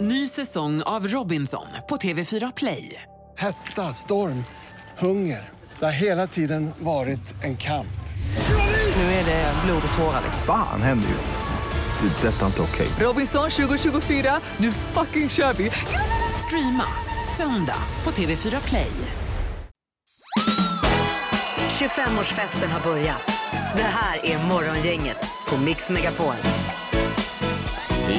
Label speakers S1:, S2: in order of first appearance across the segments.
S1: Ny säsong av Robinson på TV4 Play.
S2: Hetta, storm, hunger. Det har hela tiden varit en kamp.
S1: Nu är det blod och tårar.
S3: Fan händer just nu. Det. är Detta är inte okej.
S1: Robinson 2024, nu fucking kör vi! Streama söndag på TV4 Play.
S4: 25-årsfesten har börjat. Det här är Morgongänget på Mix Megapol.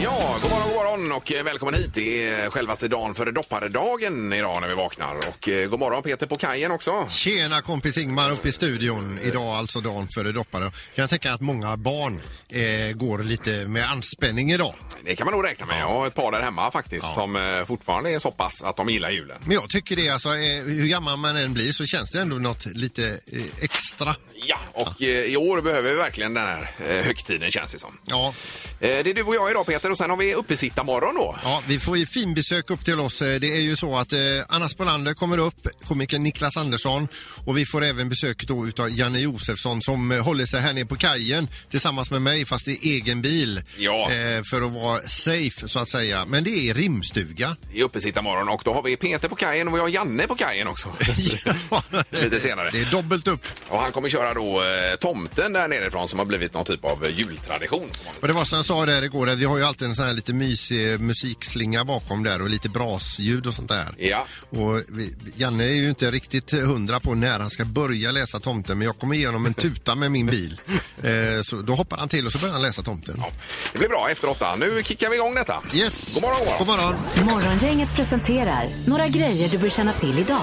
S5: Ja, god morgon, god morgon och eh, välkommen hit. Det är självaste dagen för dopparedagen idag när vi vaknar. Och eh, god morgon Peter på kajen också.
S6: Tjena kompis Ingmar uppe i studion. Idag alltså dagen före doppare. Jag kan tänka att många barn eh, går lite med anspänning idag.
S5: Det kan man nog räkna med. Jag har ett par där hemma faktiskt som eh, fortfarande är så pass att de gillar julen.
S6: Men jag tycker det alltså, eh, hur gammal man än blir så känns det ändå något lite eh, extra.
S5: Ja, och eh, i år behöver vi verkligen den här eh, högtiden känns det som.
S6: Ja,
S5: Eh, Det är du och jag idag Peter och sen har vi uppesittarmorgon då.
S6: ja vi får ju finbesök upp till oss. Eh, Det är ju så att eh, Anna Spolander kommer upp, komikern Niklas Andersson och vi får även besök då utav Janne Josefsson som eh, håller sig här nere på kajen tillsammans med mig fast i egen bil.
S5: Ja.
S6: Eh, för att vara safe så att säga. Men det är rimstuga.
S5: I uppesittarmorgon och då har vi Peter på kajen och vi har Janne på kajen också.
S6: Ja.
S5: Lite senare.
S6: Det är dubbelt upp.
S5: Och han kommer köra då eh, tomten där nerifrån som har blivit någon typ av eh, jultradition. får man
S6: Och det var som jag sa där igår, att vi har ju alltid en sån här lite mysig musikslinga bakom där och lite brasljud och sånt där.
S5: Ja.
S6: Och vi, Janne är ju inte riktigt hundra på när han ska börja läsa tomten men jag kommer ge honom en tuta med min bil. Eh, så då hoppar han till och så börjar han läsa tomten.
S5: Ja, det blir bra efter åtta. Nu kickar vi igång detta.
S6: Yes!
S5: God morgon, god morgon.
S6: God morgon.
S4: Morgongänget presenterar några grejer du bör känna till idag.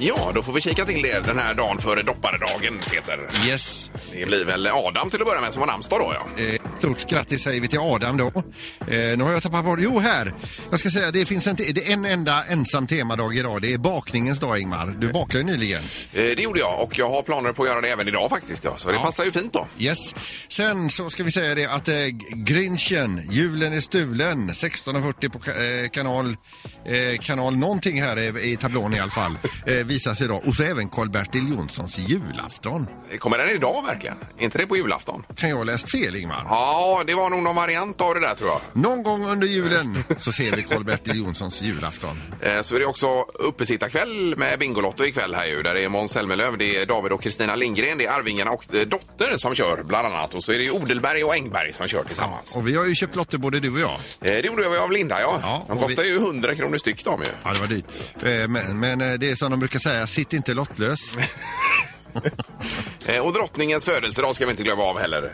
S5: Ja, då får vi kika till det den här dagen före dopparedagen, Peter.
S6: Yes.
S5: Det blir väl Adam till att börja med som har namnsdag då, ja.
S6: Eh, Stort grattis säger vi till Adam då. Eh, nu har jag tappat bort, jo här. Jag ska säga, det finns en, te- det är en enda ensam temadag idag. Det är bakningens dag Ingmar. Du bakade ju nyligen.
S5: Eh, Det gjorde jag och jag har planer på att göra det även idag faktiskt, ja. så det passar ju fint då.
S6: Yes. Sen så ska vi säga det att eh, Grinchen, julen är stulen, 16.40 på ka- eh, kanal, eh, kanal någonting här i, i tablån i alla fall, eh, visas idag. Och så även Karl-Bertil Jonssons julafton.
S5: Kommer den idag verkligen? Är inte det på julafton?
S6: Kan jag ha läst fel Ingmar?
S5: Ja, det var nog någon variant av det där tror jag.
S6: Någon gång under julen så ser vi Karl-Bertil Jonssons julafton.
S5: Eh, Så är det också uppesittarkväll med Bingolotto ikväll här ju. Där det är Måns Zelmerlöw, det är David och Kristina Lindgren, det är Arvingarna och eh, Dotter som kör bland annat. Och så är det ju Odelberg och Engberg som kör tillsammans.
S6: Och vi har ju köpt lotter både du och jag.
S5: Eh, Det gjorde jag av Linda, ja.
S6: Ja,
S5: de
S6: och vi-
S5: kostar ju 100 kronor styck de ju.
S6: Ja, det var dyrt. Eh, Men, men eh, det är som de brukar säga, sitt inte lottlös.
S5: Eh, Och drottningens födelsedag ska vi inte glömma av heller.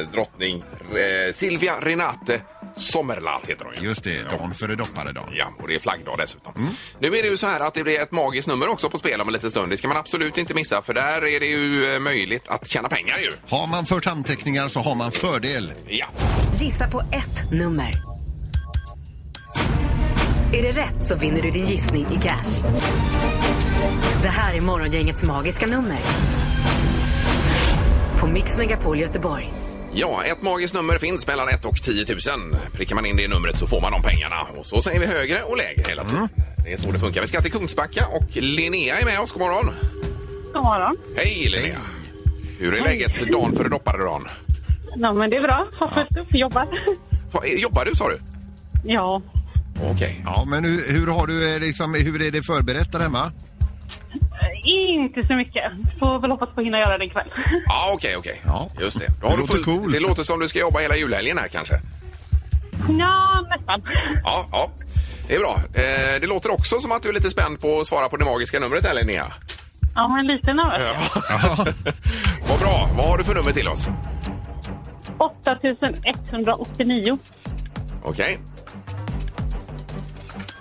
S5: Eh, drottning eh, Silvia Renate Sommerlath heter hon ju.
S6: Just det, dagen före dopparedagen.
S5: Ja, och det är flaggdag dessutom.
S6: Mm.
S5: Nu är det ju så här att det blir ett magiskt nummer också på spel om en liten stund. Det ska man absolut inte missa för där är det ju eh, möjligt att tjäna pengar ju.
S6: Har man fört anteckningar så har man fördel.
S5: Ja.
S4: Gissa på ett nummer. Är det rätt så vinner du din gissning i cash. Det här är Morgongängets magiska nummer. På Mix Megapol Göteborg.
S5: ja, ett magiskt nummer finns mellan 1 och 10 000. Prickar man in det numret så får man de pengarna. Och så säger vi högre och lägre hela
S6: Mm.
S5: tiden. Det är så det funkar. Vi ska till Kungsbacka och Linnea är med oss. God morgon!
S7: God morgon.
S5: Hej Linnea! Hur är läget dagen före dopparedagen?
S7: Ja, men det är bra. Har fullt upp och jobbar.
S5: Va, Jobbar du sa du?
S7: Ja,
S5: Okej.
S6: Ja, men hur, hur, har du, eh, liksom, hur är det förberett där hemma?
S7: inte så mycket. Får väl hoppas på att hinna göra det ikväll.
S5: Ja, okej, okej.
S6: Ja.
S5: Just det.
S6: Det
S5: Då har du
S6: låter
S5: fullt-
S6: cool.
S5: Det låter som du ska jobba hela julhelgen här kanske.
S7: Ja, nästan.
S5: Ja, ja. Det är bra. Eh, det låter också som att du är lite spänd på att svara på det magiska numret här Linnea.
S7: Ja, men lite nervös.
S6: Ja.
S5: Vad bra. Vad har du för nummer till oss?
S7: 8189.
S5: Okej.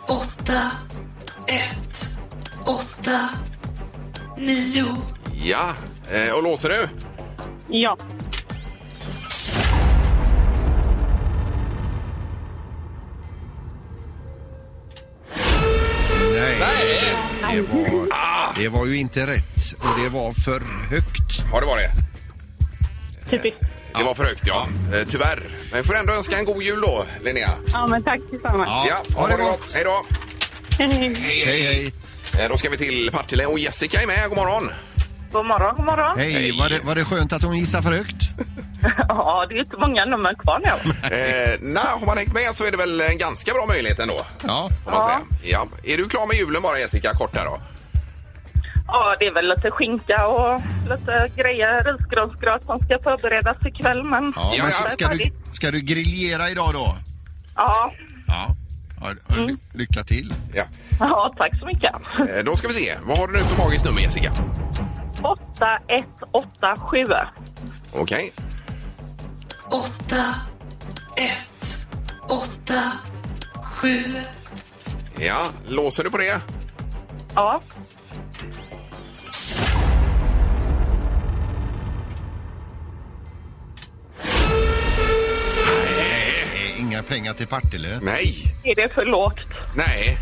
S8: åtta ett åtta nio
S5: Ja. Eh, och låser du?
S7: Ja.
S6: Nej, Det, var, det var ju inte rätt och det var för högt.
S5: Har det varit?
S7: Typiskt.
S5: Det var för högt, ja. Eh, tyvärr. Men jag får ändå önska en god jul då, Linnea.
S7: Ja, men tack tillsammans.
S6: Ja, ha det gott.
S5: Hej då.
S7: Hej.
S6: Hej, hej.
S5: Eh, då ska vi till Partille och Jessica är med. God morgon.
S7: God morgon, god morgon.
S6: Hej, var det, var det skönt att hon gissade för högt?
S7: Ja, det är inte många nummer kvar nu.
S5: Eh, nej, har man hängt med så är det väl en ganska bra möjlighet ändå.
S6: Ja.
S5: Får man säga. Ja. Är du klar med julen bara Jessica, kort där då?
S7: Ja, det är väl lite skinka och lite grejer, risgransgröt som ska förberedas ikväll, men...
S6: ja,
S5: Ja,
S6: men
S5: ja.
S6: ska, ska, du, ska du griljera idag då?
S7: Ja,
S6: Ja. ja
S5: Mm.
S6: ly, lycka till.
S5: Ja.
S7: ja tack så mycket.
S5: Eh, då ska vi se. Vad har du nu för magiskt nummer Jessica?
S7: 8187.
S5: Okej.
S8: åtta, ett, åtta, sju,
S5: Ja, låser du på det?
S7: Ja,
S6: Eh, Inga pengar till Partille.
S5: Nej.
S7: är det för lågt?
S5: Nej.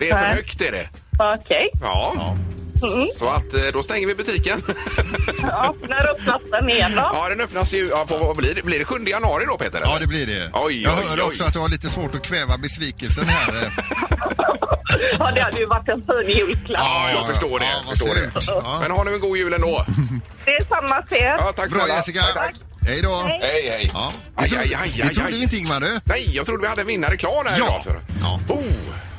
S5: Det är för
S7: Nej.
S5: högt är det.
S7: Okej.
S5: Ja.
S6: Mm.
S5: Så att eh, då stänger vi butiken.
S7: Ja, när öppnas den igen då?
S5: ja, den öppnas ju... Ja, på, vad blir, det? blir det 7 januari då Peter? eller?
S6: Ja, det blir det.
S5: Oj,
S6: Jag
S5: oj,
S6: hör
S5: oj.
S6: också att du har lite svårt att kväva besvikelsen här. eh.
S7: Ja, det hade ju varit en fin julklapp.
S5: Ja, jag förstår det.
S6: Ja, vad
S5: förstår det.
S6: surt. Ja.
S5: Men ha nu en god jul ändå.
S7: Det är samma till er.
S5: Ja, tack
S6: Bra
S5: snälla.
S6: Jessica.
S5: Tack, tack.
S6: Hej då.
S5: Hej, hej.
S6: Ja.
S5: Aj,
S6: Det
S5: aj, aj, aj,
S6: det trodde
S5: aj.
S6: vi inte Ingmar du.
S5: Nej, jag trodde vi hade en vinnare klar där
S6: Ja.
S5: idag. Så.
S6: Ja.
S5: Oh.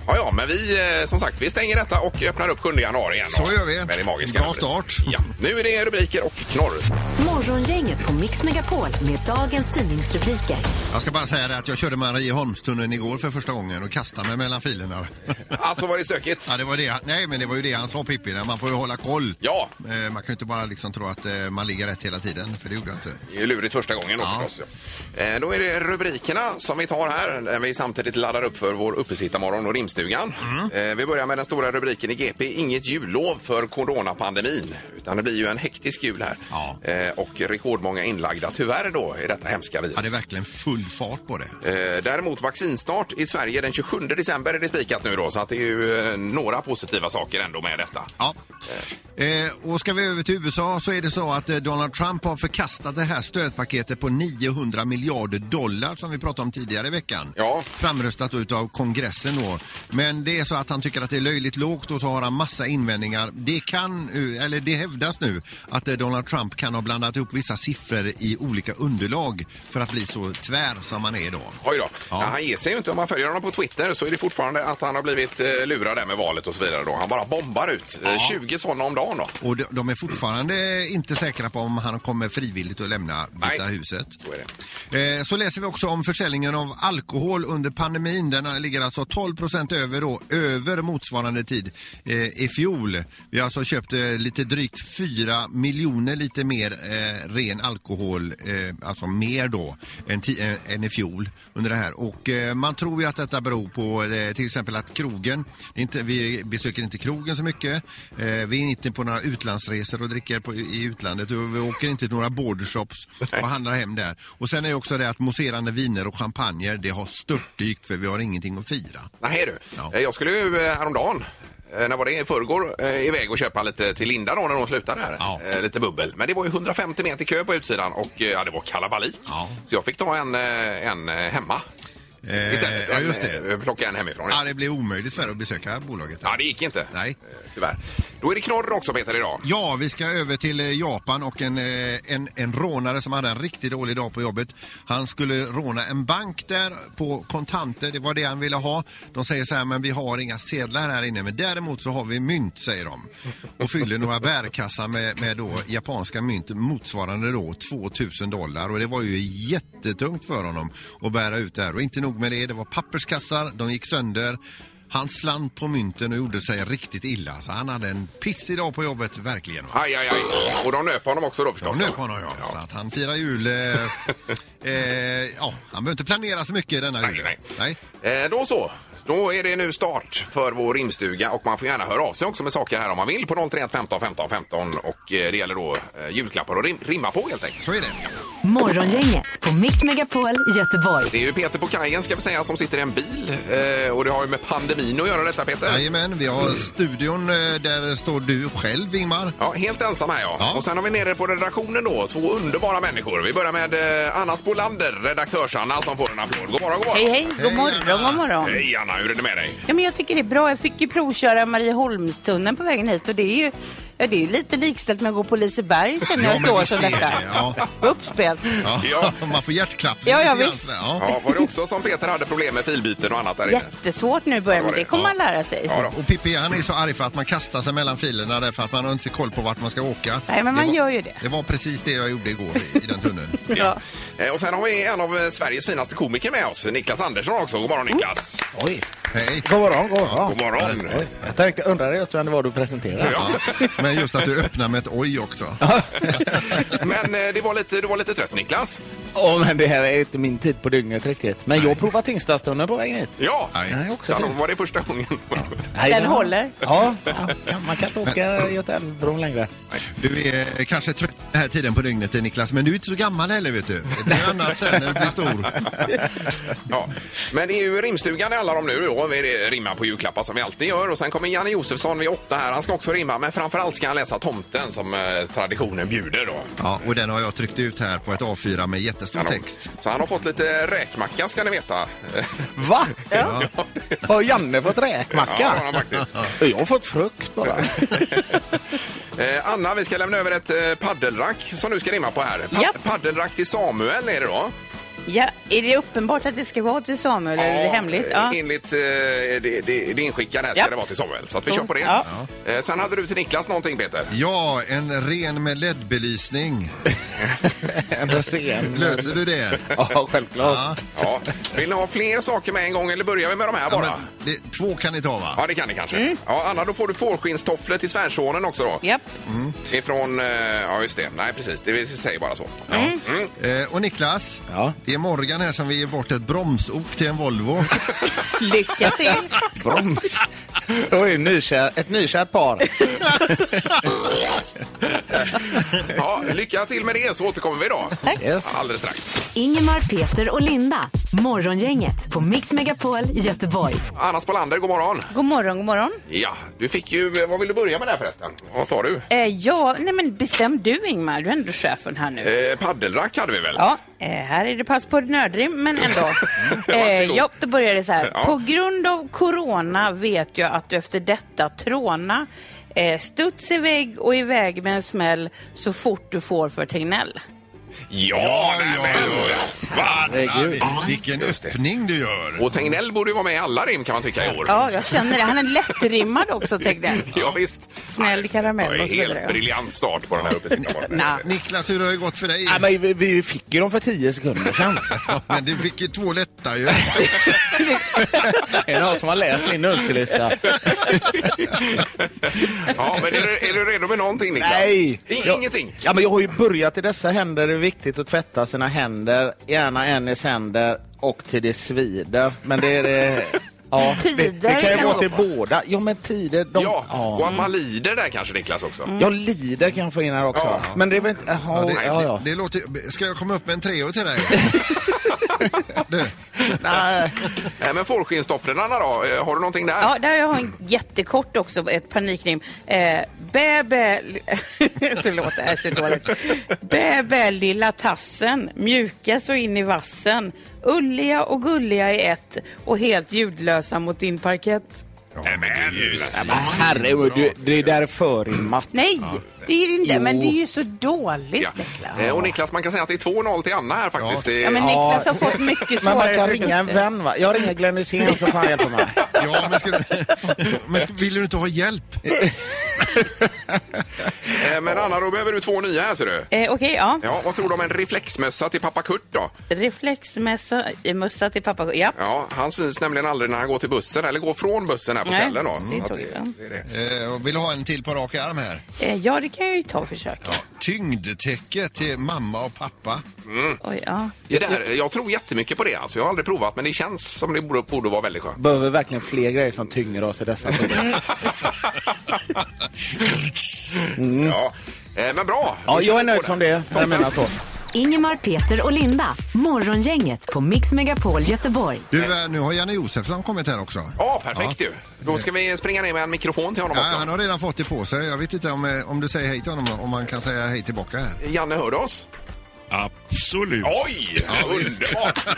S5: Ja, ja, men vi eh, som sagt, vi stänger detta och öppnar upp 7 januari igen.
S6: Så gör vi.
S5: Med det magiska
S6: Bra
S5: numret.
S6: start.
S5: Ja. Nu är det rubriker och knorr.
S4: Morgongänget på Mix Megapol med dagens tidningsrubriker.
S6: Jag ska bara säga det att jag körde Marieholmstunneln igår för första gången och kastade mig mellan filerna.
S5: Alltså var det stökigt.
S6: Ja, det var det. han- Nej, men det var ju det han sa Pippi, där. man får ju hålla koll.
S5: Ja.
S6: Eh, Man kan ju inte bara liksom tro att eh, man ligger rätt hela tiden, för det gjorde jag inte.
S5: Det är ju lurigt första gången då
S6: Ja.
S5: förstås. ja. Eh, Då är det rubrikerna som vi tar här när vi samtidigt laddar upp för vår uppesittarmorgon och rimstugan.
S6: Mm.
S5: Eh, Vi börjar med den stora rubriken i GP. Inget jullov för coronapandemin. Utan det blir ju en hektisk jul här.
S6: Ja.
S5: Eh, Och rekordmånga inlagda tyvärr då i detta hemska virus.
S6: Ja, det är verkligen full fart på det.
S5: Eh, Däremot vaccinstart i Sverige den 27 december är det spikat nu då så att det är ju eh, några positiva saker ändå med detta.
S6: Ja. Eh, och ska vi över till USA så är det så att eh, Donald Trump har förkastat det här stödpaketet på 900 miljarder dollar som vi pratade om tidigare i veckan.
S5: Ja.
S6: Framröstat utav kongressen då. Men det är så att han tycker att det är löjligt lågt och så har han massa invändningar. Det kan, eh, eller det hävdas nu att eh, Donald Trump kan ha blandat ihop vissa siffror i olika underlag för att bli så tvär som han är idag.
S5: Oj då.
S6: Ja.
S5: Ja. Han ger sig ju inte. Om man följer honom på Twitter så är det fortfarande att han har blivit eh, lurad där med valet och så vidare. Då. Han bara bombar ut. Eh, 20 sådana om dagen då.
S6: Och de, de är fortfarande inte säkra på om han kommer frivilligt att lämna Vita
S5: Nej.
S6: huset.
S5: Så är det.
S6: Eh, Så läser vi också om försäljningen av alkohol under pandemin. Den ligger alltså 12 procent över, då, över motsvarande tid eh, i fjol. Vi har alltså köpt eh, lite drygt 4 miljoner lite mer eh, ren alkohol, eh, alltså mer då än, ti- eh, än i fjol under det här. Och eh, man tror ju att detta beror på eh, till exempel att krogen, det är inte, vi besöker inte krogen så mycket. Eh, vi är inte på några utlandsresor och dricker på, i utlandet. Och vi åker inte till några bordershops och handlar hem där. Och sen är det också det att mousserande viner och champagner, det har störtdykt för vi har ingenting att fira.
S5: Nej du.
S6: Ja.
S5: Eh, Jag skulle ju eh, häromdagen eh, när var det? I förrgår eh, iväg och köpa lite till Linda då när hon slutade här.
S6: Ja.
S5: Eh, lite bubbel. Men det var ju 150 meter kö på utsidan och eh, ja, det var kalabalik.
S6: Ja.
S5: Så jag fick ta en, eh, en eh, hemma
S6: Eh,
S5: istället.
S6: ja, just
S5: En,
S6: det.
S5: eh, Plocka en hemifrån.
S6: Ja, det blir omöjligt för att besöka bolaget.
S5: Ja, det gick inte.
S6: Nej.
S5: Eh, Tyvärr. Då är det knorr också Peter idag.
S6: Ja, vi ska över till eh, Japan och en, eh, en, en rånare som hade en riktigt dålig dag på jobbet. Han skulle råna en bank där på kontanter, det var det han ville ha. De säger så här, men vi har inga sedlar här inne, men däremot så har vi mynt, säger de. Och fyller några bärkassar med, med då japanska mynt motsvarande då 2000 dollar och det var ju jättetungt för honom att bära ut det här. Och inte nog med det, det var papperskassar, de gick sönder. Han slant på mynten och gjorde sig riktigt illa. Så han hade en pissig dag på jobbet, verkligen.
S5: Aj, aj, aj. Och de nöp honom också då förstås.
S6: De nöp honom, ja. Så att han firar jul... Eh, eh, ja, han behöver inte planera så mycket denna
S5: Nej,
S6: jul.
S5: nej.
S6: nej.
S5: Eh, då så. Då är det nu start för vår rimstuga och man får gärna höra av sig också med saker här om man vill på 031 15 15 15 och eh, det gäller då eh, julklappar och rim, rimma på helt enkelt.
S6: Så är det.
S4: Morgongänget på Mix Megapol Göteborg.
S5: Det är ju Peter på kajen ska vi säga som sitter i en bil eh, och det har ju med pandemin att göra detta Peter.
S6: Jajamän, vi har studion. eh, Där står du själv, Ingmar.
S5: Ja, helt ensam här ja.
S6: Ja.
S5: Och sen har vi nere på redaktionen då två underbara människor. Vi börjar med eh, Anna Spolander, redaktörs-Anna som får en applåd. God morgon, god morgon.
S9: Hej, hej.
S6: Hej,
S9: God morgon,
S6: Anna.
S9: god morgon.
S5: Hej Anna, hur är det med dig?
S9: Ja, men jag tycker det är bra. Jag fick ju provköra Marieholmstunneln på vägen hit och det är ju Ja, det är ju lite likställt med att gå på Liseberg känner jag ett år sedan
S6: är
S9: detta.
S6: det. Ja.
S9: Uppspelt.
S6: Ja, man får hjärtklappning.
S9: Ja, ja,
S6: lite grann
S9: visst.
S6: sådär, Ja.
S5: Ja, var det också som Peter hade problem med filbyten och annat där inne?
S9: Jättesvårt nu i början, men det kommer man lära sig.
S5: Ja, då.
S6: Och Pippi han är så arg för att man kastar sig mellan filerna därför att man har inte koll på vart man ska åka.
S9: Nej, men man
S6: var,
S9: gör ju det.
S6: Det var precis det jag gjorde igår i, i den tunneln.
S9: Ja.
S5: Eh, Och sen har vi en av eh, Sveriges finaste komiker med oss, Niklas Andersson också. God morgon Niklas!
S10: Oj.
S6: Hej.
S10: God morgon, god morgon.
S5: God morgon!
S10: Oj, Jag tänkte, undrade just vem det var du presenterade.
S5: Ja.
S6: Men just att du öppnar med ett oj också.
S5: Men eh, det var lite, du var lite trött Niklas?
S10: Åh, men det här är ju inte min tid på dygnet riktigt. Men jag provar Tingstadstunneln på vägen hit.
S5: Ja!
S10: Nej, också
S5: ja, då
S10: fint.
S5: var det första gången.
S10: Nej,
S9: Den
S10: men-
S9: håller.
S10: Ja, ja, kan- man kan inte åka Götaälvbron längre.
S6: Du är eh, kanske trött den här tiden på dygnet Niklas, men du är inte så gammal heller vet du. Det blir annat sen när du blir stor.
S5: Ja. Men det är ju rimstugan det handlar om nu då. Vi rimmar på julklappar som vi alltid gör. Och sen kommer Janne Josefsson vid åtta här. Han ska också rimma, men framförallt ska han läsa Tomten som eh, traditionen bjuder då.
S6: Ja, och den har jag tryckt ut här på ett A4 med jättestor
S5: Han har-
S6: text.
S5: Så han har fått lite räkmacka ska ni veta.
S10: Va? Har Janne fått räkmacka?
S5: Ja, det har han faktiskt.
S10: Jag har fått frukt bara.
S5: Eh, Anna, vi ska lämna över ett eh, paddelrack som du ska rimma på här. Pa-
S9: Japp.
S5: Paddelrack till Samuel är det då.
S9: Ja, är det uppenbart att det ska vara till Samuel eller är det hemligt? Ja.
S5: Enligt eh, det, det, det inskickade här ska
S9: Japp.
S5: det vara till Samuel. Så att vi kör på det.
S9: Ja.
S5: Eh, sen hade du till Niklas någonting Peter.
S6: Ja, en ren med LED-belysning.
S10: En ren...
S6: Löser du det?
S10: Ja, självklart.
S6: Ja.
S5: Ja. Vill ni ha fler saker med en gång eller börjar vi med de här bara?
S6: Ja,
S5: Ja,
S6: men det, två kan ni ta va?
S5: det kan ni kanske.
S9: Mm.
S5: Ja, Anna, då får du fårskinnstofflor till svärsonen också då.
S9: Japp.
S5: Ifrån, eh, ja just det, nej precis, det säger bara så.
S9: Mm.
S5: Mm.
S6: Eh, och Niklas,
S10: Ja.
S6: det är Morgan här som vill ge bort ett bromsok till en Volvo.
S9: Lycka till!
S10: Broms. Då är det nykär, ett nykärt par.
S5: Ja, lycka till med det så återkommer vi då.
S10: Yes.
S5: Alldeles strax.
S4: Ingemar, Peter och Linda. Morgongänget på Mix Megapol Göteborg.
S5: Anna Spolander, god morgon.
S9: God morgon, god morgon.
S5: Ja, du fick ju, vad vill du börja med där förresten? Vad tar du?
S9: Eh, ja, nej men bestäm du Ingmar, du är ändå chefen här nu.
S5: Eh, paddelrack hade vi väl?
S9: Ja, eh, här är det pass på nördrim, men ändå.
S5: varsågod.
S9: eh, ja, då börjar det så här.
S5: Ja.
S9: På grund av corona vet jag att du efter detta tråna eh, studs iväg och iväg med en smäll så fort du får för Tegnell.
S5: Ja, nej,
S6: ja,
S5: men- Fan!
S10: Herregud.
S6: Ja, Vilken öppning du gör.
S5: Och Tegnell borde ju vara med i alla rim kan man tycka i år.
S9: Ja, jag känner det. Han är lättrimmad också, Tegnell.
S5: Ja, visst.
S9: Snäll karamell
S5: Det var
S9: och så
S5: ju
S9: vidare,
S5: helt
S9: ja.
S5: briljant start på den här uppesittarmorgonen.
S9: Nah.
S6: Niklas, hur har det gått för dig?
S10: Ja, men vi, vi fick ju dem för tio sekunder sedan.
S6: Ja, men du fick ju två lätta ju.
S10: Är det någon som har läst min önskelista?
S5: Ja, men är du, är du redo med någonting Niklas?
S10: Nej!
S5: I,
S10: Jag-
S5: Ingenting?
S10: Ja, men jag har ju börjat i dessa händer. Det är viktigt att tvätta sina händer, gärna en i sänder och till det svider. Men det är det... Ja, det,
S9: Tider
S10: det kan ju
S9: kan
S10: vara
S9: det
S10: till båda. Ja, men tider... De,
S5: Ja, och att man lider där kanske Niklas också.
S9: Mm.
S10: Jag lider kan jag få in här också.
S5: Ja.
S10: Men det är väl inte... Jaha,
S6: Ja,
S10: ja,
S6: det,
S10: ja,
S6: Det, det låter, ska jag komma upp med en treo till dig? Du,
S10: Nej,
S5: Nej, men fårskinnstofflorna då? Eh, Har du någonting där?
S9: Ja, där har jag en jättekort också, ett panikrim. Eh, bä, bä, li- förlåt, det här är så dåligt. Bä, bä, lilla tassen, mjuka så in i vassen. Ulliga och gulliga i ett och helt ljudlösa mot din parkett.
S5: Nej, men
S10: men herregud, du- det är därför rimmat.
S9: Nej, det är det inte,
S10: Jo.
S9: men det är ju så dåligt
S5: Ja.
S9: Niklas.
S5: Eh, Och Niklas, man kan säga att det är 2-0 till Anna här faktiskt. Det-
S9: Ja, men Niklas har fått mycket
S10: Men
S9: svårare
S10: man kan ringa en
S9: produkter.
S10: vän va? Jag ringer Glenn Hysén så får han hjälpa mig.
S6: ja, men, ska, du- men ska, vill du inte ha hjälp?
S5: Eh, Men Anna, då behöver du två nya här ser du.
S9: Eh, Okej, ja.
S5: Ja, vad tror du om en reflexmössa till pappa Kurt då?
S9: Reflexmössa i mössa till pappa. Ja.
S5: Ja, han syns nämligen aldrig när han går till bussen eller går från bussen här på
S9: Nej,
S5: kvällen då.
S9: det är
S5: Så att
S9: tråkigt, ja.
S5: det är det.
S6: Eh, och vill du ha en till på rak arm här?
S9: Eh, ja, det kan jag ju ta och försöka.
S6: Tyngdtäcke till mamma och pappa.
S9: Oj, ja.
S5: Det där, jag tror jättemycket på det alltså. Jag har aldrig provat men det känns som det borde, borde vara väldigt skönt.
S10: Behöver verkligen fler grejer som tynger oss i dessa tider.
S5: Mm. Ja. Eh, Men bra!
S10: Mm. Ja,
S5: Vi
S10: jag
S5: kör
S10: är
S5: på
S10: nöjd
S5: det.
S10: som det är. Det är mina så.
S4: Ingemar, Peter och Linda. Morgongänget på Mix Megapol Göteborg.
S6: Du, eh, nu har Janne Josefsson kommit här också.
S5: Ja, perfekt ju. Då ska vi springa ner med en mikrofon till honom
S6: Ja,
S5: också.
S6: han har redan fått det på sig. Jag vet inte om, eh, om du säger hej till honom, om han kan säga hej tillbaka här.
S5: Janne, hör du oss?
S11: Absolut.
S5: Oj! underbart!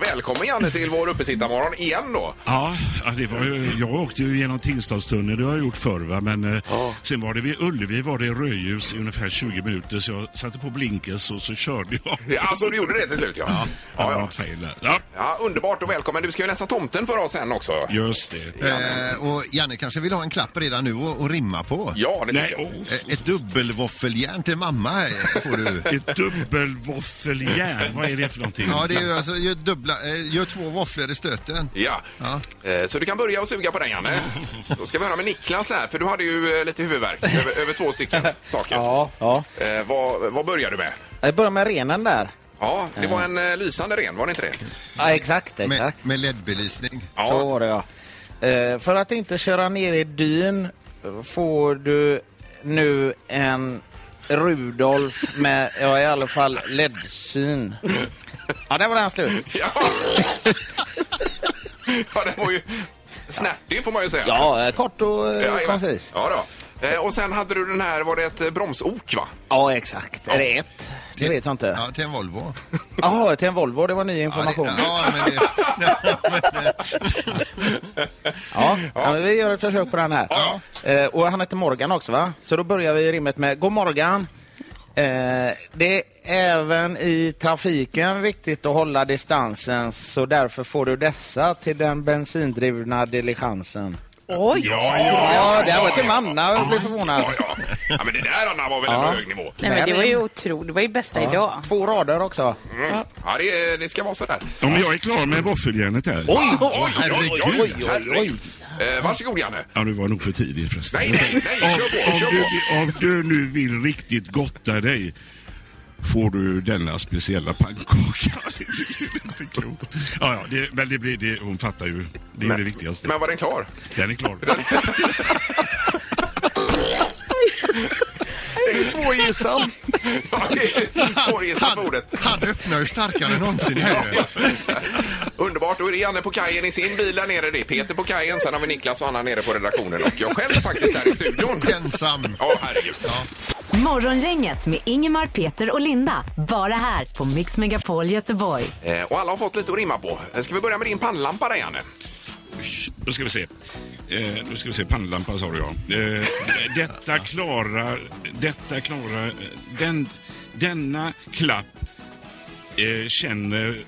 S5: Välkommen Janne till vår uppesittarmorgon igen då.
S11: Ja, ja, det var ju, jag åkte ju genom Tingstadstunneln, det har jag gjort förr va? men eh, sen var det vid Ullevi var det rödljus i ungefär 20 minuter så jag satte på blinkers och så körde jag.
S5: Ja, Alltså du gjorde det till slut ja. Ja,
S11: Ja,
S5: ja.
S11: något fel där. ja.
S5: Ja, underbart och välkommen. Du ska ju läsa tomten för oss sen också.
S11: just det.
S6: Eh, och Janne kanske vill ha en klapp redan nu och, och rimma på.
S5: Ja, det
S11: Nej,
S5: tycker jag.
S11: oh,
S6: Eh, Ett dubbelvåffeljärn till mamma här får du.
S11: ett dubbelvåffeljärn, vad är det för någonting?
S6: Ja, det är ju alltså, gör, dubbla, eh, gör två våfflor i stöten.
S5: Ja. Eh, Så du kan börja och suga på den Janne. Då ska vi höra med Niklas här, för du hade ju eh, lite huvudvärk över, över två stycken saker.
S10: Ja, ja.
S5: Eh, vad, vad börjar du med?
S10: Jag börjar med renen där.
S5: Ja, det var en eh, lysande ren, var det inte det?
S10: Ja, exakt,
S6: Med,
S10: exakt.
S6: med LED-belysning.
S10: Så
S5: Ja,
S10: var det ja. Eh, för att inte köra ner i dyn eh, får du nu en Rudolf med, ja i alla fall LED-syn. Ja, där var den slut.
S5: ja. ja den var ju snärtig får man ju säga.
S10: Ja, eh, kort och eh,
S5: Jajamän.
S10: koncis.
S5: Ja, då. Eh, Och sen hade du den här, var det ett eh, bromsok va?
S10: Ja, exakt. Är det ett? Det vet jag inte.
S6: Ja, till en Volvo.
S10: Jaha, till en Volvo. Det var ny
S6: Ja, det,
S10: information.
S6: ja, men det, ja, men det,
S10: Ja, ja, men vi gör ett försök på den här.
S5: Ja,
S10: Eh, och han heter Morgan också va? Så då börjar vi rimmet med God morgon. Eh, det är även i trafiken viktigt att hålla distansen så därför får du dessa till den bensindrivna diligensen.
S9: Oj!
S10: Ja, det här var till mamma. Jag blir förvånad.
S5: ja, ja. ja men det där Anna var väl ändå
S10: Ja.
S5: hög nivå.
S9: Nej, men det var ju otroligt. Det var ju bästa idag.
S10: Två rader också.
S5: Mm. Ja, det, det ska vara sådär.
S11: Om jag är klar med våffeljärnet här.
S5: Oj, oj, oj, oj,
S10: oj,
S5: herregud. Eh, Varsågod Janne.
S11: Ja, det var nog för tidigt förresten.
S5: Nej, nej, nej,
S11: om,
S5: kör på,
S11: om,
S5: kör
S11: du,
S5: på.
S11: om du nu vill riktigt gotta dig får du denna speciella pannkaka. Det är ju inte klokt. Ja, ja, det, men det blir, det, hon fattar ju. Det är ju det viktigaste.
S5: Men var den klar?
S11: Den är klar.
S10: Det är svårgissat.
S5: Ja, det är Svårgissat på ordet.
S6: han öppnar ju starkare än någonsin här.
S5: Underbart, då är det Janne på kajen i sin bil där nere. Det är Peter på kajen, sen har vi Niklas och Anna nere på redaktionen och jag själv är faktiskt där i studion.
S6: Ensam.
S5: Ja, herregud.
S4: Morgongänget med Ingemar, Peter och Linda. Bara här på Mix Megapol Göteborg.
S5: Eh, Och alla har fått lite att rimma på. Eh, Ska vi börja med din pannlampa där Janne?
S11: Då ska vi se. Eh, nu ska vi se, pannlampan sa du ja. Eh, detta klarar, detta klarar, eh, den, denna klapp eh, känner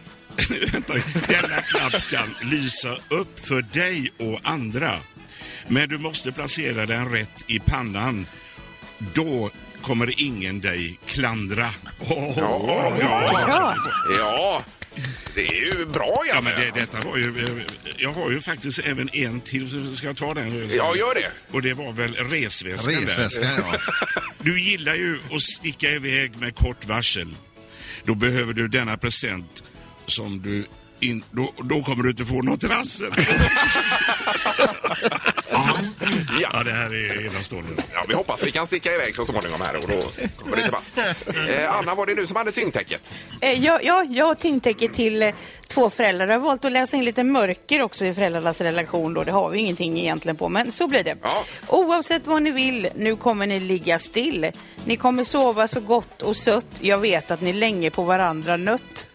S11: Vänta, denna klapp kan lysa upp för dig och andra. Men du måste placera den rätt i pannan. Då kommer ingen dig klandra. Oh,
S5: ja, ja. Ja, det är ju bra
S11: Ja,
S5: Janne.
S11: men det, detta var ju... eh, Jag har ju faktiskt även en till. Ska jag ta den?
S5: Ja, gör det.
S11: Och det var väl resväskan där.
S6: Resväskan, ja.
S11: Du gillar ju att sticka iväg med kort varsel. Då behöver du denna present som du... In, då, då kommer du inte få något rassel. ja, det här är enastående.
S5: Ja, vi hoppas vi kan sticka iväg så småningom här och då går det inte pass. Eh, Anna, var det du som hade tyngdtäcket?
S9: Eh, ja, ja, jag har tyngdtäcket till eh, två föräldrar. Jag har valt att läsa in lite mörker också i föräldrarnas relation då. Det har vi ingenting egentligen på, men så blir det.
S5: Ja.
S9: Oavsett vad ni vill, nu kommer ni ligga still. Ni kommer sova så gott och sött. Jag vet att ni länge på varandra nött.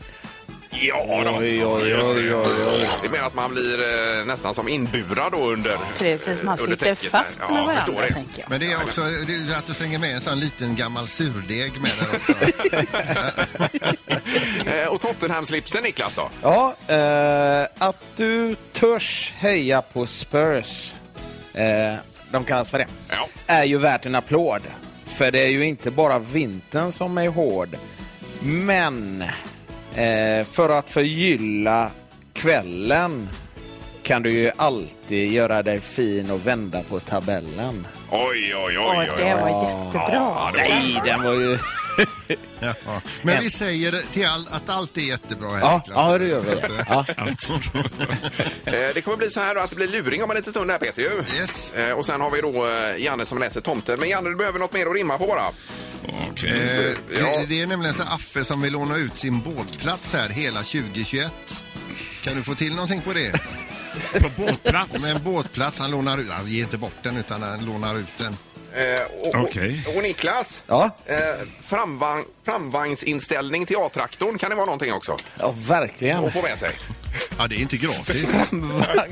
S5: Ja, då.
S10: Oj, oj, oj, oj, oj.
S5: Det menar att man blir eh, nästan som inburad då under
S9: Precis, man
S5: eh, under
S9: sitter
S5: täcket där.
S9: fast
S5: ja,
S9: med
S5: jag
S9: varandra,
S5: förstår det.
S9: tänker jag.
S6: Men det är också det är ju att du slänger med en sån liten gammal surdeg med där också.
S5: Eh, Och Tottenham-slipsen Niklas då?
S10: Ja, eh, att du törs heja på Spurs, eh, de kallas för det,
S5: Ja.
S10: är ju värt en applåd. För det är ju inte bara vintern som är hård. Men eh, för att förgylla kvällen kan du ju alltid göra dig fin och vända på tabellen.
S5: Oj, oj,
S9: Ja,
S5: oj. oj,
S9: det
S5: oj.
S9: var jättebra.
S10: Nej, den var ju...
S6: Ja. Men vi säger till all, att allt är jättebra alltså. här.
S10: Ja,
S6: Niklas.
S10: ja det gör vi. Ja.
S5: Eh, Det kommer bli så här då att det blir luring om en liten stund här Peter ju.
S6: Yes.
S5: Eh, Och sen har vi då eh, Janne som läser tomten. Men Janne, du behöver något mer att rimma på bara.
S11: Okej.
S6: Eh,
S5: Mm. Ja.
S6: det, det är nämligen så Affe som vill låna ut sin båtplats här hela 2021. Kan du få till någonting på det?
S11: På båtplats.
S6: Med en båtplats, han lånar ut, han ger inte bort den utan han lånar ut den.
S5: Eh, och,
S11: Okej.
S5: och, och Niklas,
S10: Ja?
S5: eh, framvagn, framvagnsinställning till A-traktorn kan det vara någonting också?
S10: Ja, verkligen.
S5: Att få med sig.
S6: Ja, det är inte gratis.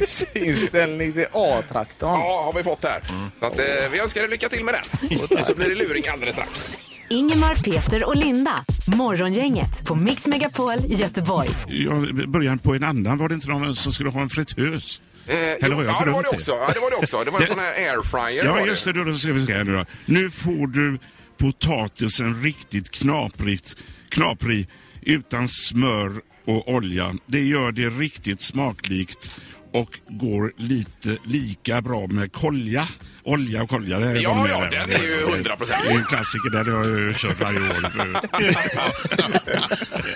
S10: Vagnsinställning till A-traktorn.
S5: Ja, har vi fått här.
S11: Mm.
S5: Så att, eh, vi önskar er lycka till med den. Och så blir det luring alldeles strax.
S4: Ingemar, Peter och Linda. Morgongänget på Mix Megapol Göteborg.
S11: Ja, i början på en annan var det inte någon som skulle ha en fritös?
S5: Eh,
S11: Eller
S5: jo,
S11: har jag
S5: ja, det var
S11: drömt
S5: det också. Ja, det var det också. Det var en sån här airfryer. var
S11: Ja, just det. Då då ska vi se här nu då. Nu får du potatisen riktigt knaprigt, knaprig utan smör och olja. Det gör det riktigt smaklikt och går lite lika bra med kolja. Olja och kolja, det här är
S5: Ja,
S11: de med
S5: ja,
S11: där, va?
S5: den är ju 100%.
S11: Det är en klassiker, där har jag ju kört varje år.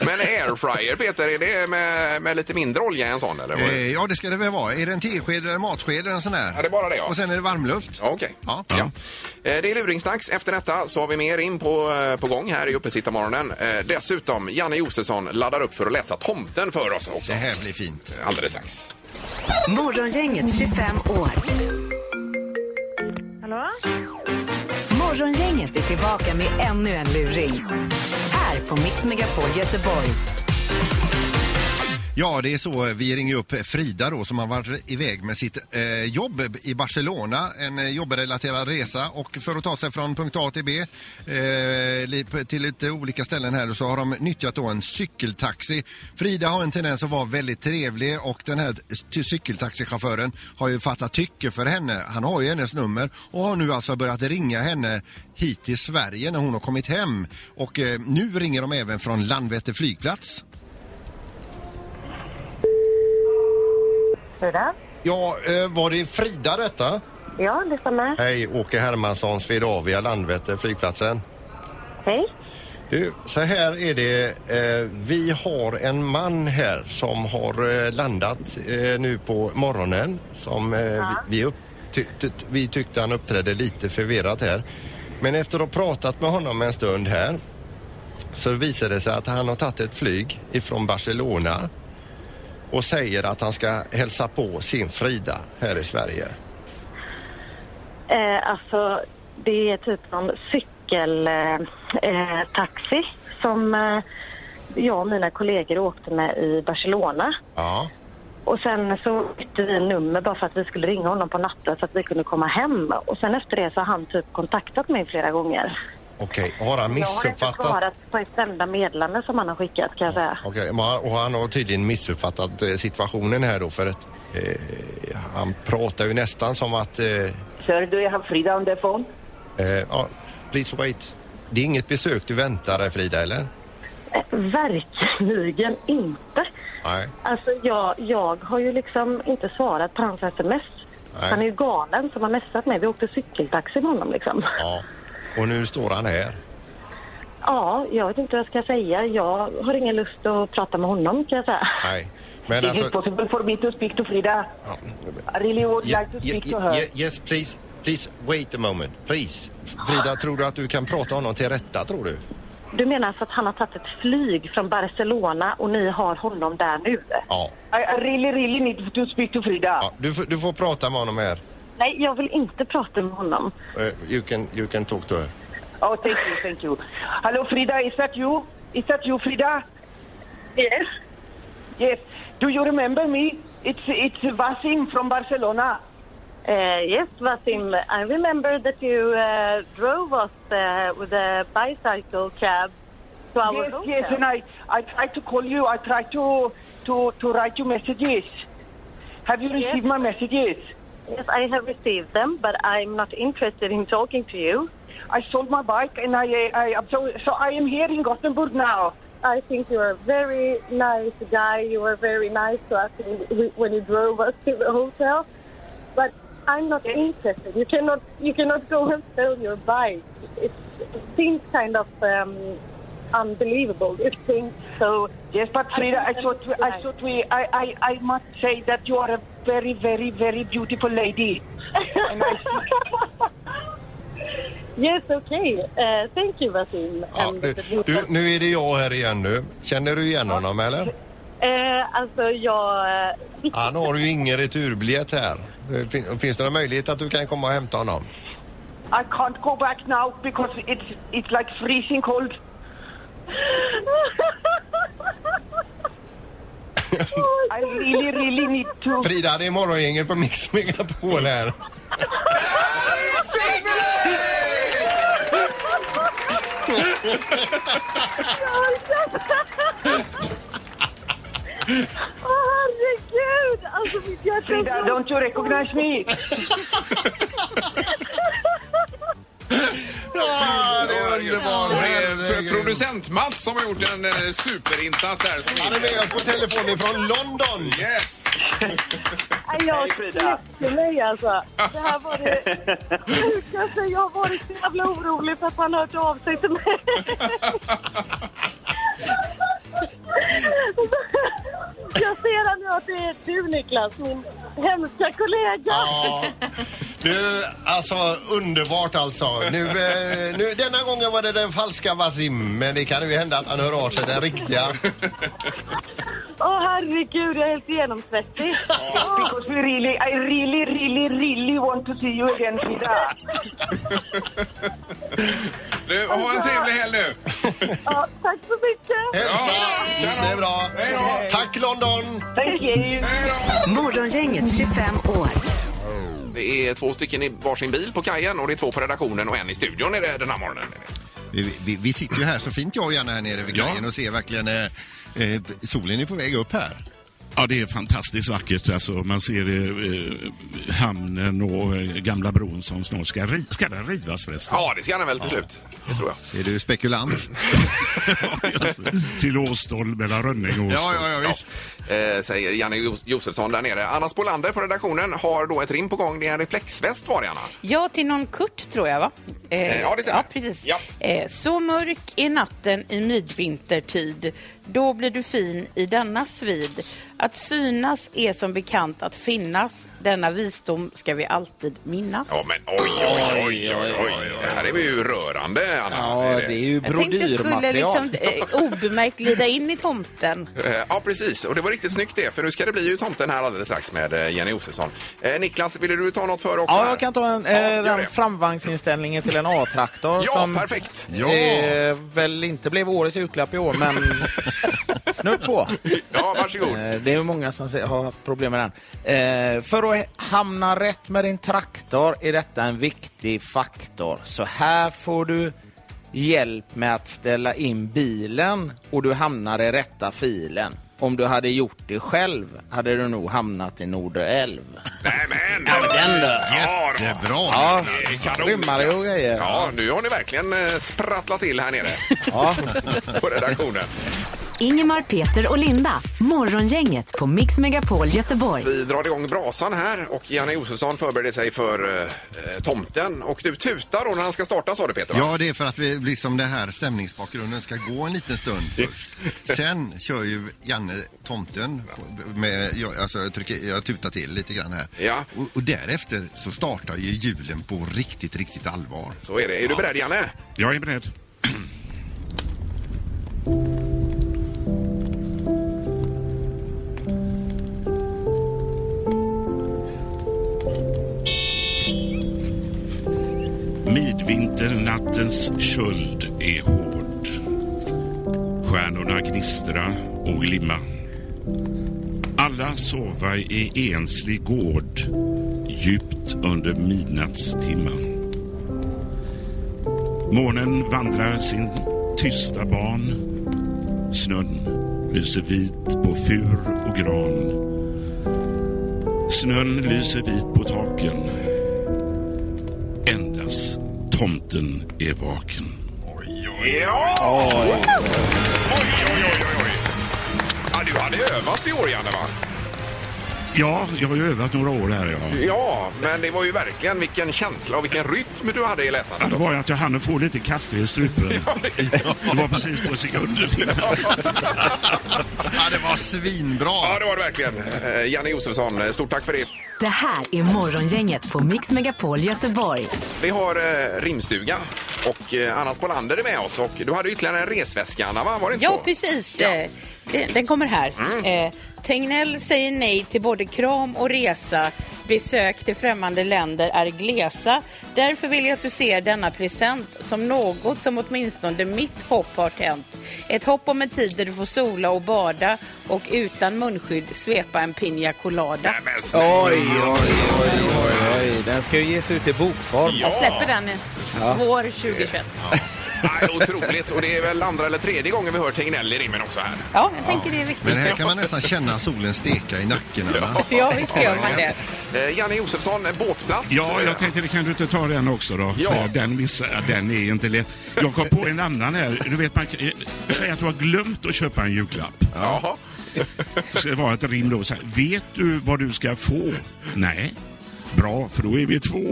S5: Men airfryer, Peter, är det med, med lite mindre olja i en sån? Eller? vad är det?
S6: Eh, ja, det ska det väl vara. Är det en tesked eller en matsked eller en sån där?
S5: Ja, det är bara det, ja.
S6: Och sen är det varmluft.
S5: Ja, Okej.
S6: Ja.
S5: Ja. Eh, Det är luringsdags. Efter detta så har vi mer in på, eh, på gång här i Uppesittarmorgonen. Eh, Dessutom, Janne Josefsson laddar upp för att läsa Tomten för oss också.
S6: Det här blir fint.
S5: Alldeles strax.
S4: Morgongänget 25 år.
S7: Hallå?
S4: Morgongänget är tillbaka med ännu en luring. Här på Mix Megapol Göteborg.
S6: Ja, det är så. Vi ringer upp Frida då som har varit iväg med sitt eh, jobb i Barcelona. En eh, jobbrelaterad resa och för att ta sig från punkt A till B eh, li- till lite olika ställen här så har de nyttjat då en cykeltaxi. Frida har en tendens att vara väldigt trevlig och den här ty- cykeltaxichauffören har ju fattat tycke för henne. Han har ju hennes nummer och har nu alltså börjat ringa henne hit till Sverige när hon har kommit hem. Och eh, nu ringer de även från Landvetter flygplats.
S7: Frida?
S12: Ja, eh, var det Frida detta?
S7: Ja, det stämmer.
S12: Hej, Åke Hermansson, Swedavia, Landvetter, flygplatsen.
S7: Hej.
S12: Du, så här är det. Eh, vi har en man här som har eh, landat eh, nu på morgonen som eh, vi, vi, upp, ty, ty, vi tyckte han uppträdde lite förvirrat här. Men efter att ha pratat med honom en stund här så visar det sig att han har tagit ett flyg ifrån Barcelona och säger att han ska hälsa på sin Frida här i Sverige.
S7: Eh, alltså, det är typ någon cykeltaxi eh, taxi som eh, jag och mina kollegor åkte med i Barcelona.
S12: Ja.
S7: Och sen så bytte vi nummer bara för att vi skulle ringa honom på natten så att vi kunde komma hem. Och sen efter det så har han typ kontaktat mig flera gånger.
S12: Okej, har han
S7: Jag har inte
S12: missuppfattat?
S7: svarat på ett enda meddelande som han har skickat kan jag säga.
S12: Okej, men han- och han har tydligen missuppfattat eh, situationen här då för att eh, han pratar ju nästan som att... Eh,
S13: Sir, do you have Frida on the phone?
S12: eh, ja, please wait. Det är inget besök du väntar dig Frida, eller?
S7: Eh, Verkligen inte.
S12: Nej.
S7: Alltså jag, jag har ju liksom inte svarat på hans sms.
S12: Nej.
S7: Han är ju galen som har messat mig. Vi åkte cykeltaxi med honom liksom.
S12: Ja. Och nu står han här.
S7: Ja, jag vet inte vad jag ska säga. Jag har ingen lust att prata med honom kan jag säga.
S12: Nej. Men
S13: Is
S12: alltså...
S13: it possible for me to speak to Frida? I really would like to speak to her.
S12: ye- yes, please. Please wait a moment. Please. Frida, tror du att du kan prata honom till rätta, tror du?
S7: Du menar alltså att han har tagit ett flyg från Barcelona och ni har honom där nu?
S12: Ja.
S13: I, I really, really need to speak to Frida.
S12: ja du, får- du får prata med honom här.
S7: Nej, jag vill inte prata med honom.
S12: Eh, you, can, you can talk to her.
S13: Oh, thank you, thank you. Hello, Frida, is that you? Is that you, Frida? Yes. Yes. Do you remember me? It's it's Vasim from Barcelona.
S7: Uh, yes, Vasim, I remember that you uh, drove us uh, with a bicycle cab to our
S13: yes,
S7: hotel.
S13: yes, and I, I tried to call you. I tried to to to write you messages. Have you
S7: Yes.
S13: received my messages?
S7: Yes, I have received them, but I'm not interested in talking to you.
S13: I sold my bike and I, I, I so, so I am here in Gothenburg now.
S7: I think you're a very nice guy. You were very nice to us when we- when you drove us to the hotel, but I'm not interested. You cannot, you cannot go and sell your bike. It, it seems kind of um, unbelievable. It seems so.
S13: Yes, but Frida, I thought we, I thought we I, I, I must say that you are a very very very beautiful lady. and I
S7: Yes, okay. Uh, thank you, Vasim.
S12: Ja,
S7: And
S12: du,
S7: the people.
S12: du, nu är det jag här igen nu. Känner du igen honom eller?
S7: Eh, alltså, jag...
S12: Han Eh, har ju ingen returbiljett här. Fin- Finns det någon möjlighet att du kan komma och hämta honom?
S13: I can't go back now because it's it's like freezing cold. I really, really need to.
S12: Frida, det är morgongänget på Mix Megapol här.
S7: Åh herregud! Alltså mitt hjärta
S13: Frida, don't you recognize me?
S12: Ja, det är underbart.
S5: Och det är producent Mats som har gjort en eh, superinsats här.
S12: Han är med oss på telefon ifrån London.
S5: Yes!
S7: Nej, Jag knäckte mig alltså. Det här var det sjukaste. Jag har varit så jävla orolig för att han har hört av sig till mig. Jag ser här nu att det är du Niklas, min hemska kollega.
S12: Ja. Du, alltså underbart alltså. Nu, eh, nu, denna gången var det den falska Wasim, men det kan ju hända att han hör av sig den riktiga.
S7: Åh herregud, jag är helt genomsvettig.
S13: Because we really, I really, really, really want to see you again, Frida.
S5: Du, ha en trevlig helg nu!
S7: Ja, tack så mycket.
S12: Hälsa! Det är bra. Tack London!
S13: Thank you.
S4: Morgongänget 25 år.
S5: Det är två stycken i varsin bil på kajen och det är två på redaktionen och en i studion är det den här morgonen.
S6: Vi, vi, vi sitter ju här så fint jag och Janne här nere vid kajen och ser verkligen eh, eh, solen är på väg upp här.
S11: Ja, det är fantastiskt vackert. Alltså, man ser eh, eh, hamnen och eh, gamla bron som snart ska, ri- ska den rivas förresten.
S5: Ja, det ska den väl till slut. Det tror jag.
S6: Är du spekulant?
S11: Till Åstol mellan Rönning och Åstol.
S5: Ja. Eh, säger Janne Jo- Josefsson där nere. Anna Spolander på redaktionen har då ett rim på gång. Det är en reflexväst var det, Anna.
S9: Ja, till någon Kurt tror jag va?
S5: Eh, ja, det stämmer.
S9: Ja, precis. Eh, så mörk är natten i midvintertid, då blir du fin i denna svid. Att synas är som bekant att finnas, denna visdom ska vi alltid minnas.
S5: Ja, men oj, oj, oj, oj, oj. Det här är ju rörande, Anna.
S10: Ja, det är ju
S9: jag tänkte jag skulle liksom
S5: brodyrmaterial.
S9: eh, obemärkt glida in i tomten.
S5: Eh, Ja, precis. Och det var riktigt snyggt det, för nu ska det bli ju tomten här alldeles strax med eh, Jenny Josefsson. Eh, Niklas, ville du ta något för också?
S10: Ja,
S5: här?
S10: jag kan ta en,
S5: Ja,
S10: eh,
S5: gör
S10: den
S5: det.
S10: framvagnsinställningen till en A-traktor
S5: Ja,
S10: som
S5: perfekt.
S10: eh, väl inte blev årets julklapp i år, men snudd på.
S5: Ja, varsågod.
S10: Eh, Det är många som se- har haft problem med den. Eh, För att hamna rätt med din traktor är detta en viktig faktor. Så här får du hjälp med att ställa in bilen och du hamnar i rätta filen. Om du hade gjort det själv hade du nog hamnat i Norderälv.
S5: Nämen!
S10: Den då!
S6: Jättebra!
S10: Ja,
S5: Niklas. Kanon,
S10: rymmare och
S5: Niklas.
S10: grejer.
S5: Ja, nu har ni verkligen eh, sprattlat till här nere
S10: Ja.
S5: på redaktionen.
S4: Ingemar, Peter och Linda. Morgongänget på Mix Megapol Göteborg.
S5: Vi drar igång brasan här och Janne Josefsson förbereder sig för eh, tomten. Och du tutar då när han ska starta, sa du Peter? va?
S6: Ja, det är för att vi, liksom den här stämningsbakgrunden ska gå en liten stund först. Sen kör ju Janne tomten, på- med, jag, alltså, jag, trycker, jag tutar till lite grann här.
S5: Ja.
S6: Och, och därefter så startar ju julen på riktigt, riktigt allvar.
S5: Så är det. Är du beredd, Janne?
S11: Jag är beredd. Midvinternattens köld är hård. Stjärnorna gnistra och glimma. Alla sova i enslig gård djupt under midnattstimman. Månen vandrar sin tysta ban. Snön lyser vit på fur och gran. Snön lyser vit på taken. Endast tomten är vaken.
S5: Ja! Oj, oj, oj, oj. Ja, du hade övat i år, Janne, va?
S11: Ja, jag har ju övat några år här. Ja.
S5: Ja, men det var ju verkligen vilken känsla och vilken rytm du hade i
S11: Ja,
S5: läsandet.
S11: Det var ju att jag hann få lite kaffe i strupen. Det var precis på sekunden.
S6: Ja, det var svinbra!
S5: Ja, det var det verkligen. Eh, Janne Josefsson, eh, stort tack för det.
S4: Det här är Morgongänget på Mix Megapol Göteborg.
S5: Vi har eh, rimstuga och eh, Anna Spolander är med oss. Och du hade ytterligare en resväska, Anna, va? Var det inte
S9: Ja,
S5: så?
S11: Mm.
S9: precis. Eh, Den, den kommer här. Eh, Tegnell säger nej till både kram och resa. Besök till främmande länder är glesa. Därför vill jag att du ser denna present som något som åtminstone mitt hopp har tänt. Ett hopp om en tid där du får sola och bada och utan munskydd svepa en piña colada.
S10: Oj, oj, oj, oj, oj. Den ska ju ges ut i bokform.
S9: Jag släpper den
S10: Ja.
S9: vår 2021.
S5: Nej, otroligt. Och det är väl andra eller tredje gången vi hör Tegnell i rimmen också här.
S9: Ja, jag tänker det är viktigt.
S6: Men här kan man nästan känna solen steka i nacken. Anna.
S9: Ja, visst gör man det.
S5: Eh, Janne Josefsson, en båtplats.
S11: Ja, jag tänkte det kan du inte ta den också då?
S5: Ja.
S11: För den missar jag. Den är inte lätt. Jag kom på en annan här. Du vet, man kan- eh, säg att du har glömt att köpa en julklapp.
S5: Ja.
S11: Det ska vara ett rim då. Så här, vet du vad du ska få? Nej. Bra, för då är vi två.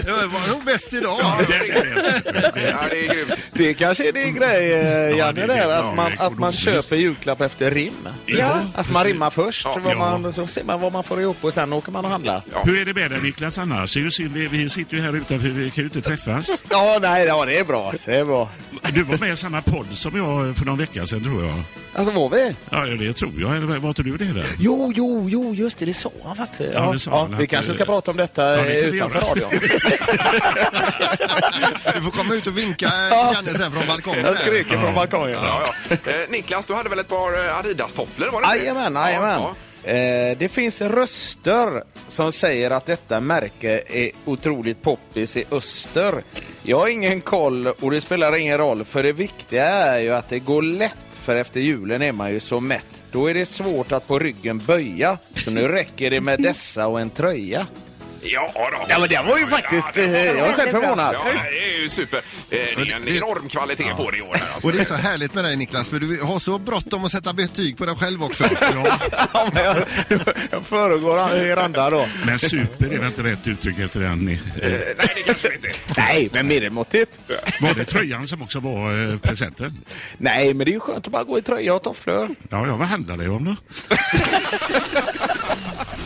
S6: Det var nog bäst idag.
S5: Ja, det är grymt.
S10: Det kanske är din grej, eh, Janne, där, att man, att man köper julklapp efter rim.
S11: Ja.
S10: Att man rimmar först,
S11: Ja.
S10: vad man, så ser man vad man får ihop och sen åker man och handlar.
S11: Hur är det med dig Niklas annars? Det är ju synd, Vi, vi sitter ju här utanför, vi kan ju inte träffas.
S10: Ja, nej, ja, det är bra. Det är bra.
S11: Du var med i samma podd som jag för någon vecka sedan tror jag.
S10: Alltså var vi?
S11: Ja, det tror jag. Eller var inte du det? Där?
S10: Jo, jo, jo, just det, det sa han faktiskt.
S11: Ja,
S10: Ja,
S11: det sa
S10: ja,
S11: han
S10: vi
S11: att,
S10: kanske
S11: eh,
S10: ska prata om detta
S11: ja, det
S10: eh,
S11: kan vi
S10: utanför
S11: göra.
S10: radion.
S6: Du får komma ut och vinka eh,
S10: Ja.
S6: Janne sen från balkongen.
S10: Jag
S6: här.
S10: skriker från balkongen.
S5: Ja, ja. Eh, Niklas, du hade väl ett par eh, Adidas-tofflor? var det inte det?
S10: Jajamän, jajamän. Eh, Det finns röster som säger att detta märke är otroligt poppis i öster. Jag har ingen koll och det spelar ingen roll för det viktiga är ju att det går lätt för efter julen är man ju så mätt. Då är det svårt att på ryggen böja. Så nu räcker det med dessa och en tröja.
S5: Ja, då.
S10: Ja, men den var ju faktiskt,
S5: den var
S10: eh,
S5: bra.
S10: jag är själv förvånad.
S5: Ja, det är ju super. Eh, Det är en enorm kvalitet på det i år. Här, alltså.
S6: Och det är så härligt med dig Niklas, för du har så bråttom att sätta betyg på dig själv också.
S10: Ja, men jag, jag föregår er andra då.
S11: Men super är väl inte rätt uttryck efter den? eh,
S5: Nej, det kanske det inte är.
S10: Nej, men medelmåttigt.
S11: Var det tröjan som också var eh, presenten?
S10: Nej, men det är ju skönt att bara gå i tröja och tofflor.
S11: Ja, ja, vad handlar det om då?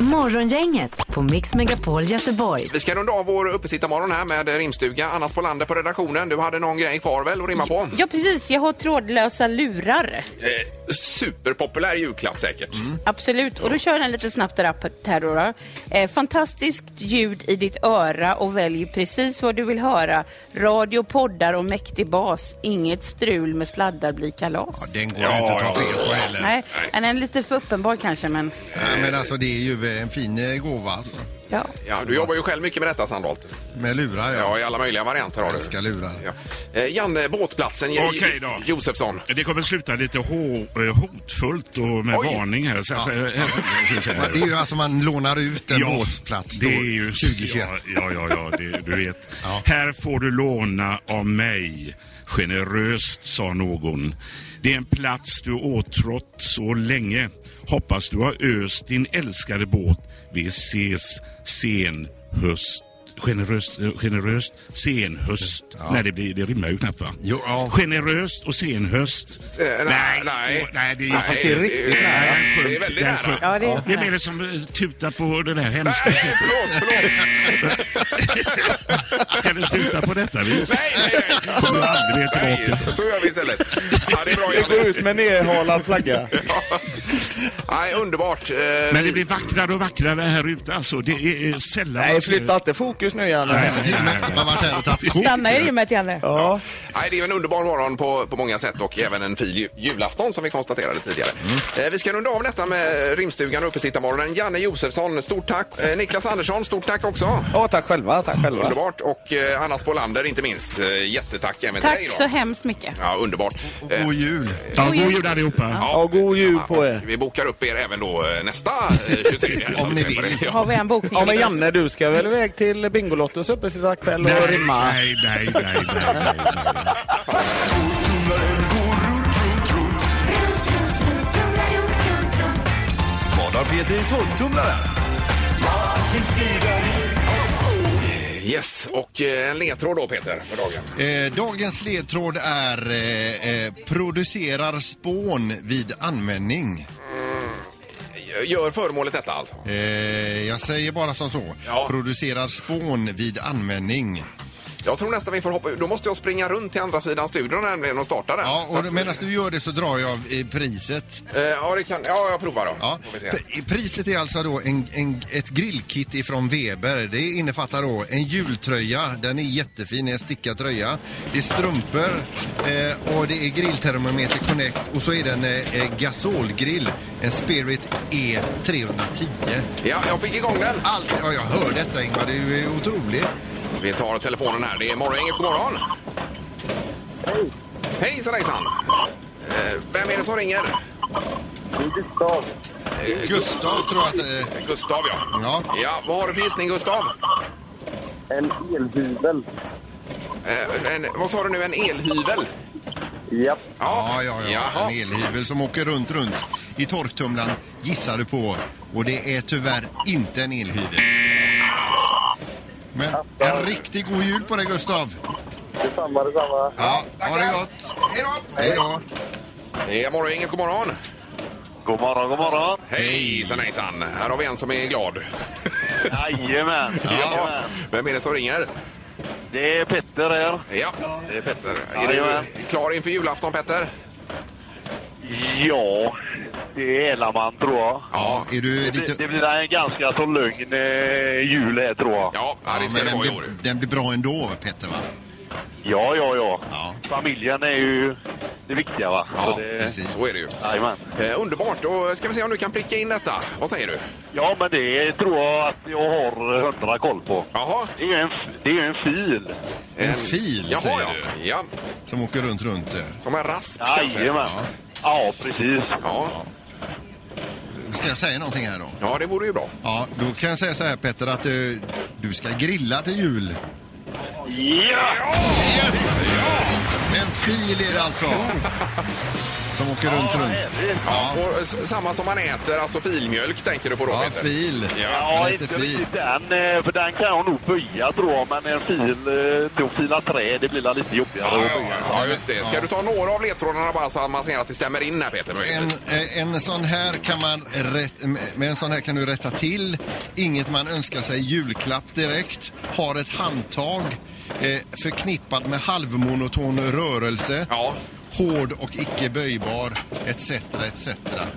S4: Morgongänget på Mix Megapol Göteborg.
S5: Vi ska runda av vår uppesittarmorgon här med rimstuga. Anna Spolander på redaktionen. Du hade någon grej kvar väl att rimma på?
S9: Ja, precis. Jag har trådlösa lurar.
S5: Eh, superpopulär julklapp säkert.
S10: Mm.
S9: Absolut, och då kör den lite snabbt där upp här då. då. Eh, fantastiskt ljud i ditt öra och välj precis vad du vill höra. Radio, poddar och mäktig bas. Inget strul med sladdar blir kalas.
S6: Den går ja, inte att ta fel på heller.
S9: Nej, den är lite för uppenbar kanske, men
S6: Nej, Men alltså det är ju en fin eh, gåva alltså.
S9: ja.
S5: Ja, du jobbar ju själv mycket med detta Sandholt.
S6: Med lurar ja.
S5: Ja, i alla möjliga varianter har du.
S6: Älskar lurar.
S5: Ja. Eh, Janne, båtplatsen. J-
S11: Okej då.
S5: Josefsson.
S11: Det kommer sluta lite ho- eh, hotfullt och med
S5: Oj.
S11: varning här. Så, så,
S6: Det är ju alltså man lånar ut en båtplats då,
S11: det är ju,
S6: 2021.
S11: Ja, ja, ja, ja det, du vet. Här får du låna av mig. Generöst, sa någon. Det är en plats du åtrått så länge. Hoppas du har öst din älskade båt. Vi ses sen höst. Generöst, eh, generöst senhöst. Nej, det, blir, det rimmar ju knappt va?
S6: Jo, ja.
S11: Generöst och senhöst.
S5: Eh, nej, nej.
S11: nej, det är,
S5: Nej, det är riktigt nära. Det är väldigt
S11: den
S5: nära.
S11: sjönk.
S9: Ja, det är-
S11: Eh, det är mer som eh, tuta på det där
S5: Nej,
S11: hemska sättet.
S5: förlåt, förlåt.
S11: Ska du sluta på detta vis?
S5: Nej, nej, nej.
S11: Kommer du aldrig
S5: Nej,
S11: tillbaka.
S5: så gör vi istället. Ja, det är bra,
S10: Det går
S5: Janne.
S10: ut med nerhalad flagga.
S5: Nej, underbart. Eh,
S11: Men det blir vackrare och vackrare här ute alltså. Det är eh, sällan...
S10: Nej, flytta inte fokus nu
S11: Nej,
S10: Janne.
S11: nej, nej, nej.
S6: Man har varit här och tagit kort.
S9: Stanna i gymmet, Janne.
S10: Ja.
S5: Nej, det är ju en underbar morgon på, på många sätt och även en fin ju, julafton som vi konstaterade tidigare.
S11: Mm.
S5: Eh, vi ska runda av detta med rimstugan och uppesittarmorgonen. Janne Josefsson, stort tack. Eh, Niklas Andersson, stort tack också.
S10: ja, tack själva. Tack själva.
S5: Underbart. Och eh, Anna Spolander inte minst. Eh, jättetack även till dig.
S9: Tack
S5: då.
S9: så hemskt mycket.
S5: Ja, underbart.
S6: Och god jul.
S11: Ja, god jul allihopa.
S5: Ja,
S10: Ja, god jul
S5: samma.
S10: på er.
S5: Vi bokar upp er även då eh, nästa eh, 23.
S6: Om ni vill.
S5: Ja.
S9: Har vi en bokning?
S10: Ja, men Janne, du ska väl iväg till Bingolottos uppe sitta kväll och
S11: Nej,
S10: rimma?
S11: nej, nej, nej, nej, nej.
S3: Vad har Peter i torktumlaren?
S5: Yes, och eh, en ledtråd då Peter för dagen.
S6: Eh, dagens ledtråd är eh, eh, producerar spån vid användning.
S5: Gör föremålet detta alltså?
S6: Eh, jag säger bara som så.
S5: Ja.
S6: Producerar spån vid användning.
S5: Jag tror nästan vi får hoppa ur. Då måste jag springa runt till andra sidan studion nämligen och starta den.
S6: Ja,
S5: Så
S6: och
S5: att-
S6: medan du gör det så drar jag eh, priset.
S5: Eh, ja, det kan... ja, jag provar då.
S6: Ja.
S5: Får vi se.
S6: P- Priset är alltså då en, en, ett grillkit ifrån Weber. Det innefattar då en jultröja, den är jättefin, en stickad tröja. Det är strumpor eh, och det är grilltermometer Connect och så är det en eh, eh, gasolgrill, en Spirit E310.
S5: Ja, jag fick igång den.
S6: Allt, ja, jag hör detta Ingmar, du är otrolig.
S5: Vi tar telefonen här. Det är Morgongänget. God morgon! Hej! Hejsan hejsan! Eh, Vem är det som ringer? Eh, Gustav.
S6: Gustav tror jag att eh,
S5: Gustav, ja. ja. Ja, vad har du för gissning, Gustav? En elhyvel. Eh, En, vad sa du nu? En elhyvel?
S6: Japp. Ja, ja, ja.
S5: Jaha.
S6: En elhyvel som åker runt, runt i torktumlaren gissar du på. Och det är tyvärr inte en elhyvel. Men en riktigt god jul på dig Gustav!
S14: Detsamma, detsamma.
S6: Ja, ha det gott! Hej då!
S5: Det är Morgongänget. God morgon!
S14: God morgon, god morgon.
S5: Hejsan hejsan! Här har vi en som är glad.
S14: Jajamän.
S5: Ja. Vem är det som ringer?
S14: Det är Petter här.
S5: Ja, det är Petter. Är
S14: Jajamän.
S5: du klar inför julafton, Petter?
S14: Ja, det är man tror jag.
S6: Ja, är du
S14: det, blir-
S6: lite-
S14: det blir en ganska så lugn eh, jul här tror jag.
S5: Ja,
S6: men den, blir, den blir bra ändå Petter va?
S14: Ja, ja, ja. Familjen är ju det viktiga va.
S5: Ja,
S14: Så det...
S5: precis. Så är det ju.
S14: Jajamän.
S5: Eh, underbart. Och ska vi se om du kan pricka in detta. Vad säger du?
S14: Ja, men det tror jag att jag har hundra koll på.
S5: Jaha.
S14: Det är ju en, f- det är ju en fil.
S6: En fil
S5: Jaha,
S6: säger
S5: ja. du? Ja.
S6: Som åker runt, runt. eh.
S5: Som en rasp kanske?
S14: Jajamän. Ja, precis.
S5: Ja.
S6: Ska jag säga någonting här då?
S5: ja, det vore ju bra.
S6: Ja, då kan jag säga så här Petter att eh, du ska grilla till jul.
S14: Ja!
S6: Yes! En fil är det alltså. Som åker runt, runt.
S5: Ja. Och eh, s- samma som man äter, alltså filmjölk tänker du på då
S6: Ja,
S5: Peter?
S6: fil.
S14: Ja, inte riktigt den, eh, för den kan jag nog böja tror jag, men en fil, eh, till att fila trä, det blir lite jobbigare
S5: Ja,
S14: att
S5: ja,
S14: böja.
S5: ja, just det. Ska du ta några av ledtrådarna bara så att man ser att det stämmer in här Peter?
S6: En, eh, en sån här kan man rätt, med en sån här kan du rätta till. Inget man önskar sig i julklapp direkt. Har ett handtag eh, förknippat med halvmonoton rörelse. Hård och icke böjbar etc. etc.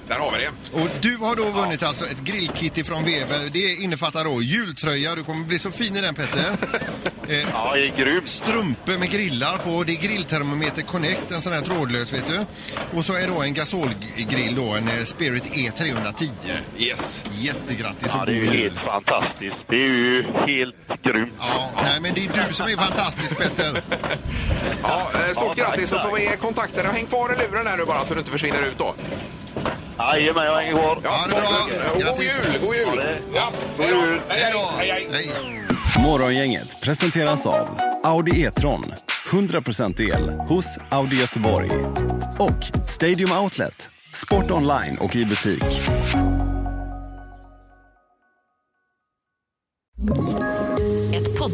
S5: Där har vi det.
S6: Och du har då vunnit alltså ett grillkit ifrån Weber. Det innefattar då jultröja. Du kommer bli så fin i den Petter. Eh,
S14: Ja, det är grymt.
S6: strumpor med grillar på. Det är grilltermometer Connect, en sån här trådlös vet du. Och så är då en gasolgrill då, en eh, Spirit E310.
S5: Yes.
S6: Jättegrattis
S14: Ja,
S6: och
S14: det är
S6: god
S14: ju
S6: jul.
S14: helt fantastiskt. Det är ju helt grymt.
S6: Ja, nej men det är du som är fantastisk Petter.
S5: Ja, eh, stort
S14: Ja, tack,
S5: grattis så får vi kontakta dig. Häng kvar i luren här nu bara så du inte försvinner ut då.
S14: Jajamän, jag hänger kvar.
S5: Ja,
S6: det är bra.
S5: Och god jul! God jul! Ja, hej då! Hej, hej, hej, hej.
S15: Morgongänget presenteras av Audi E-tron. 100% el hos Audi Göteborg. Och Stadium Outlet. Sport online och i butik.
S16: Ett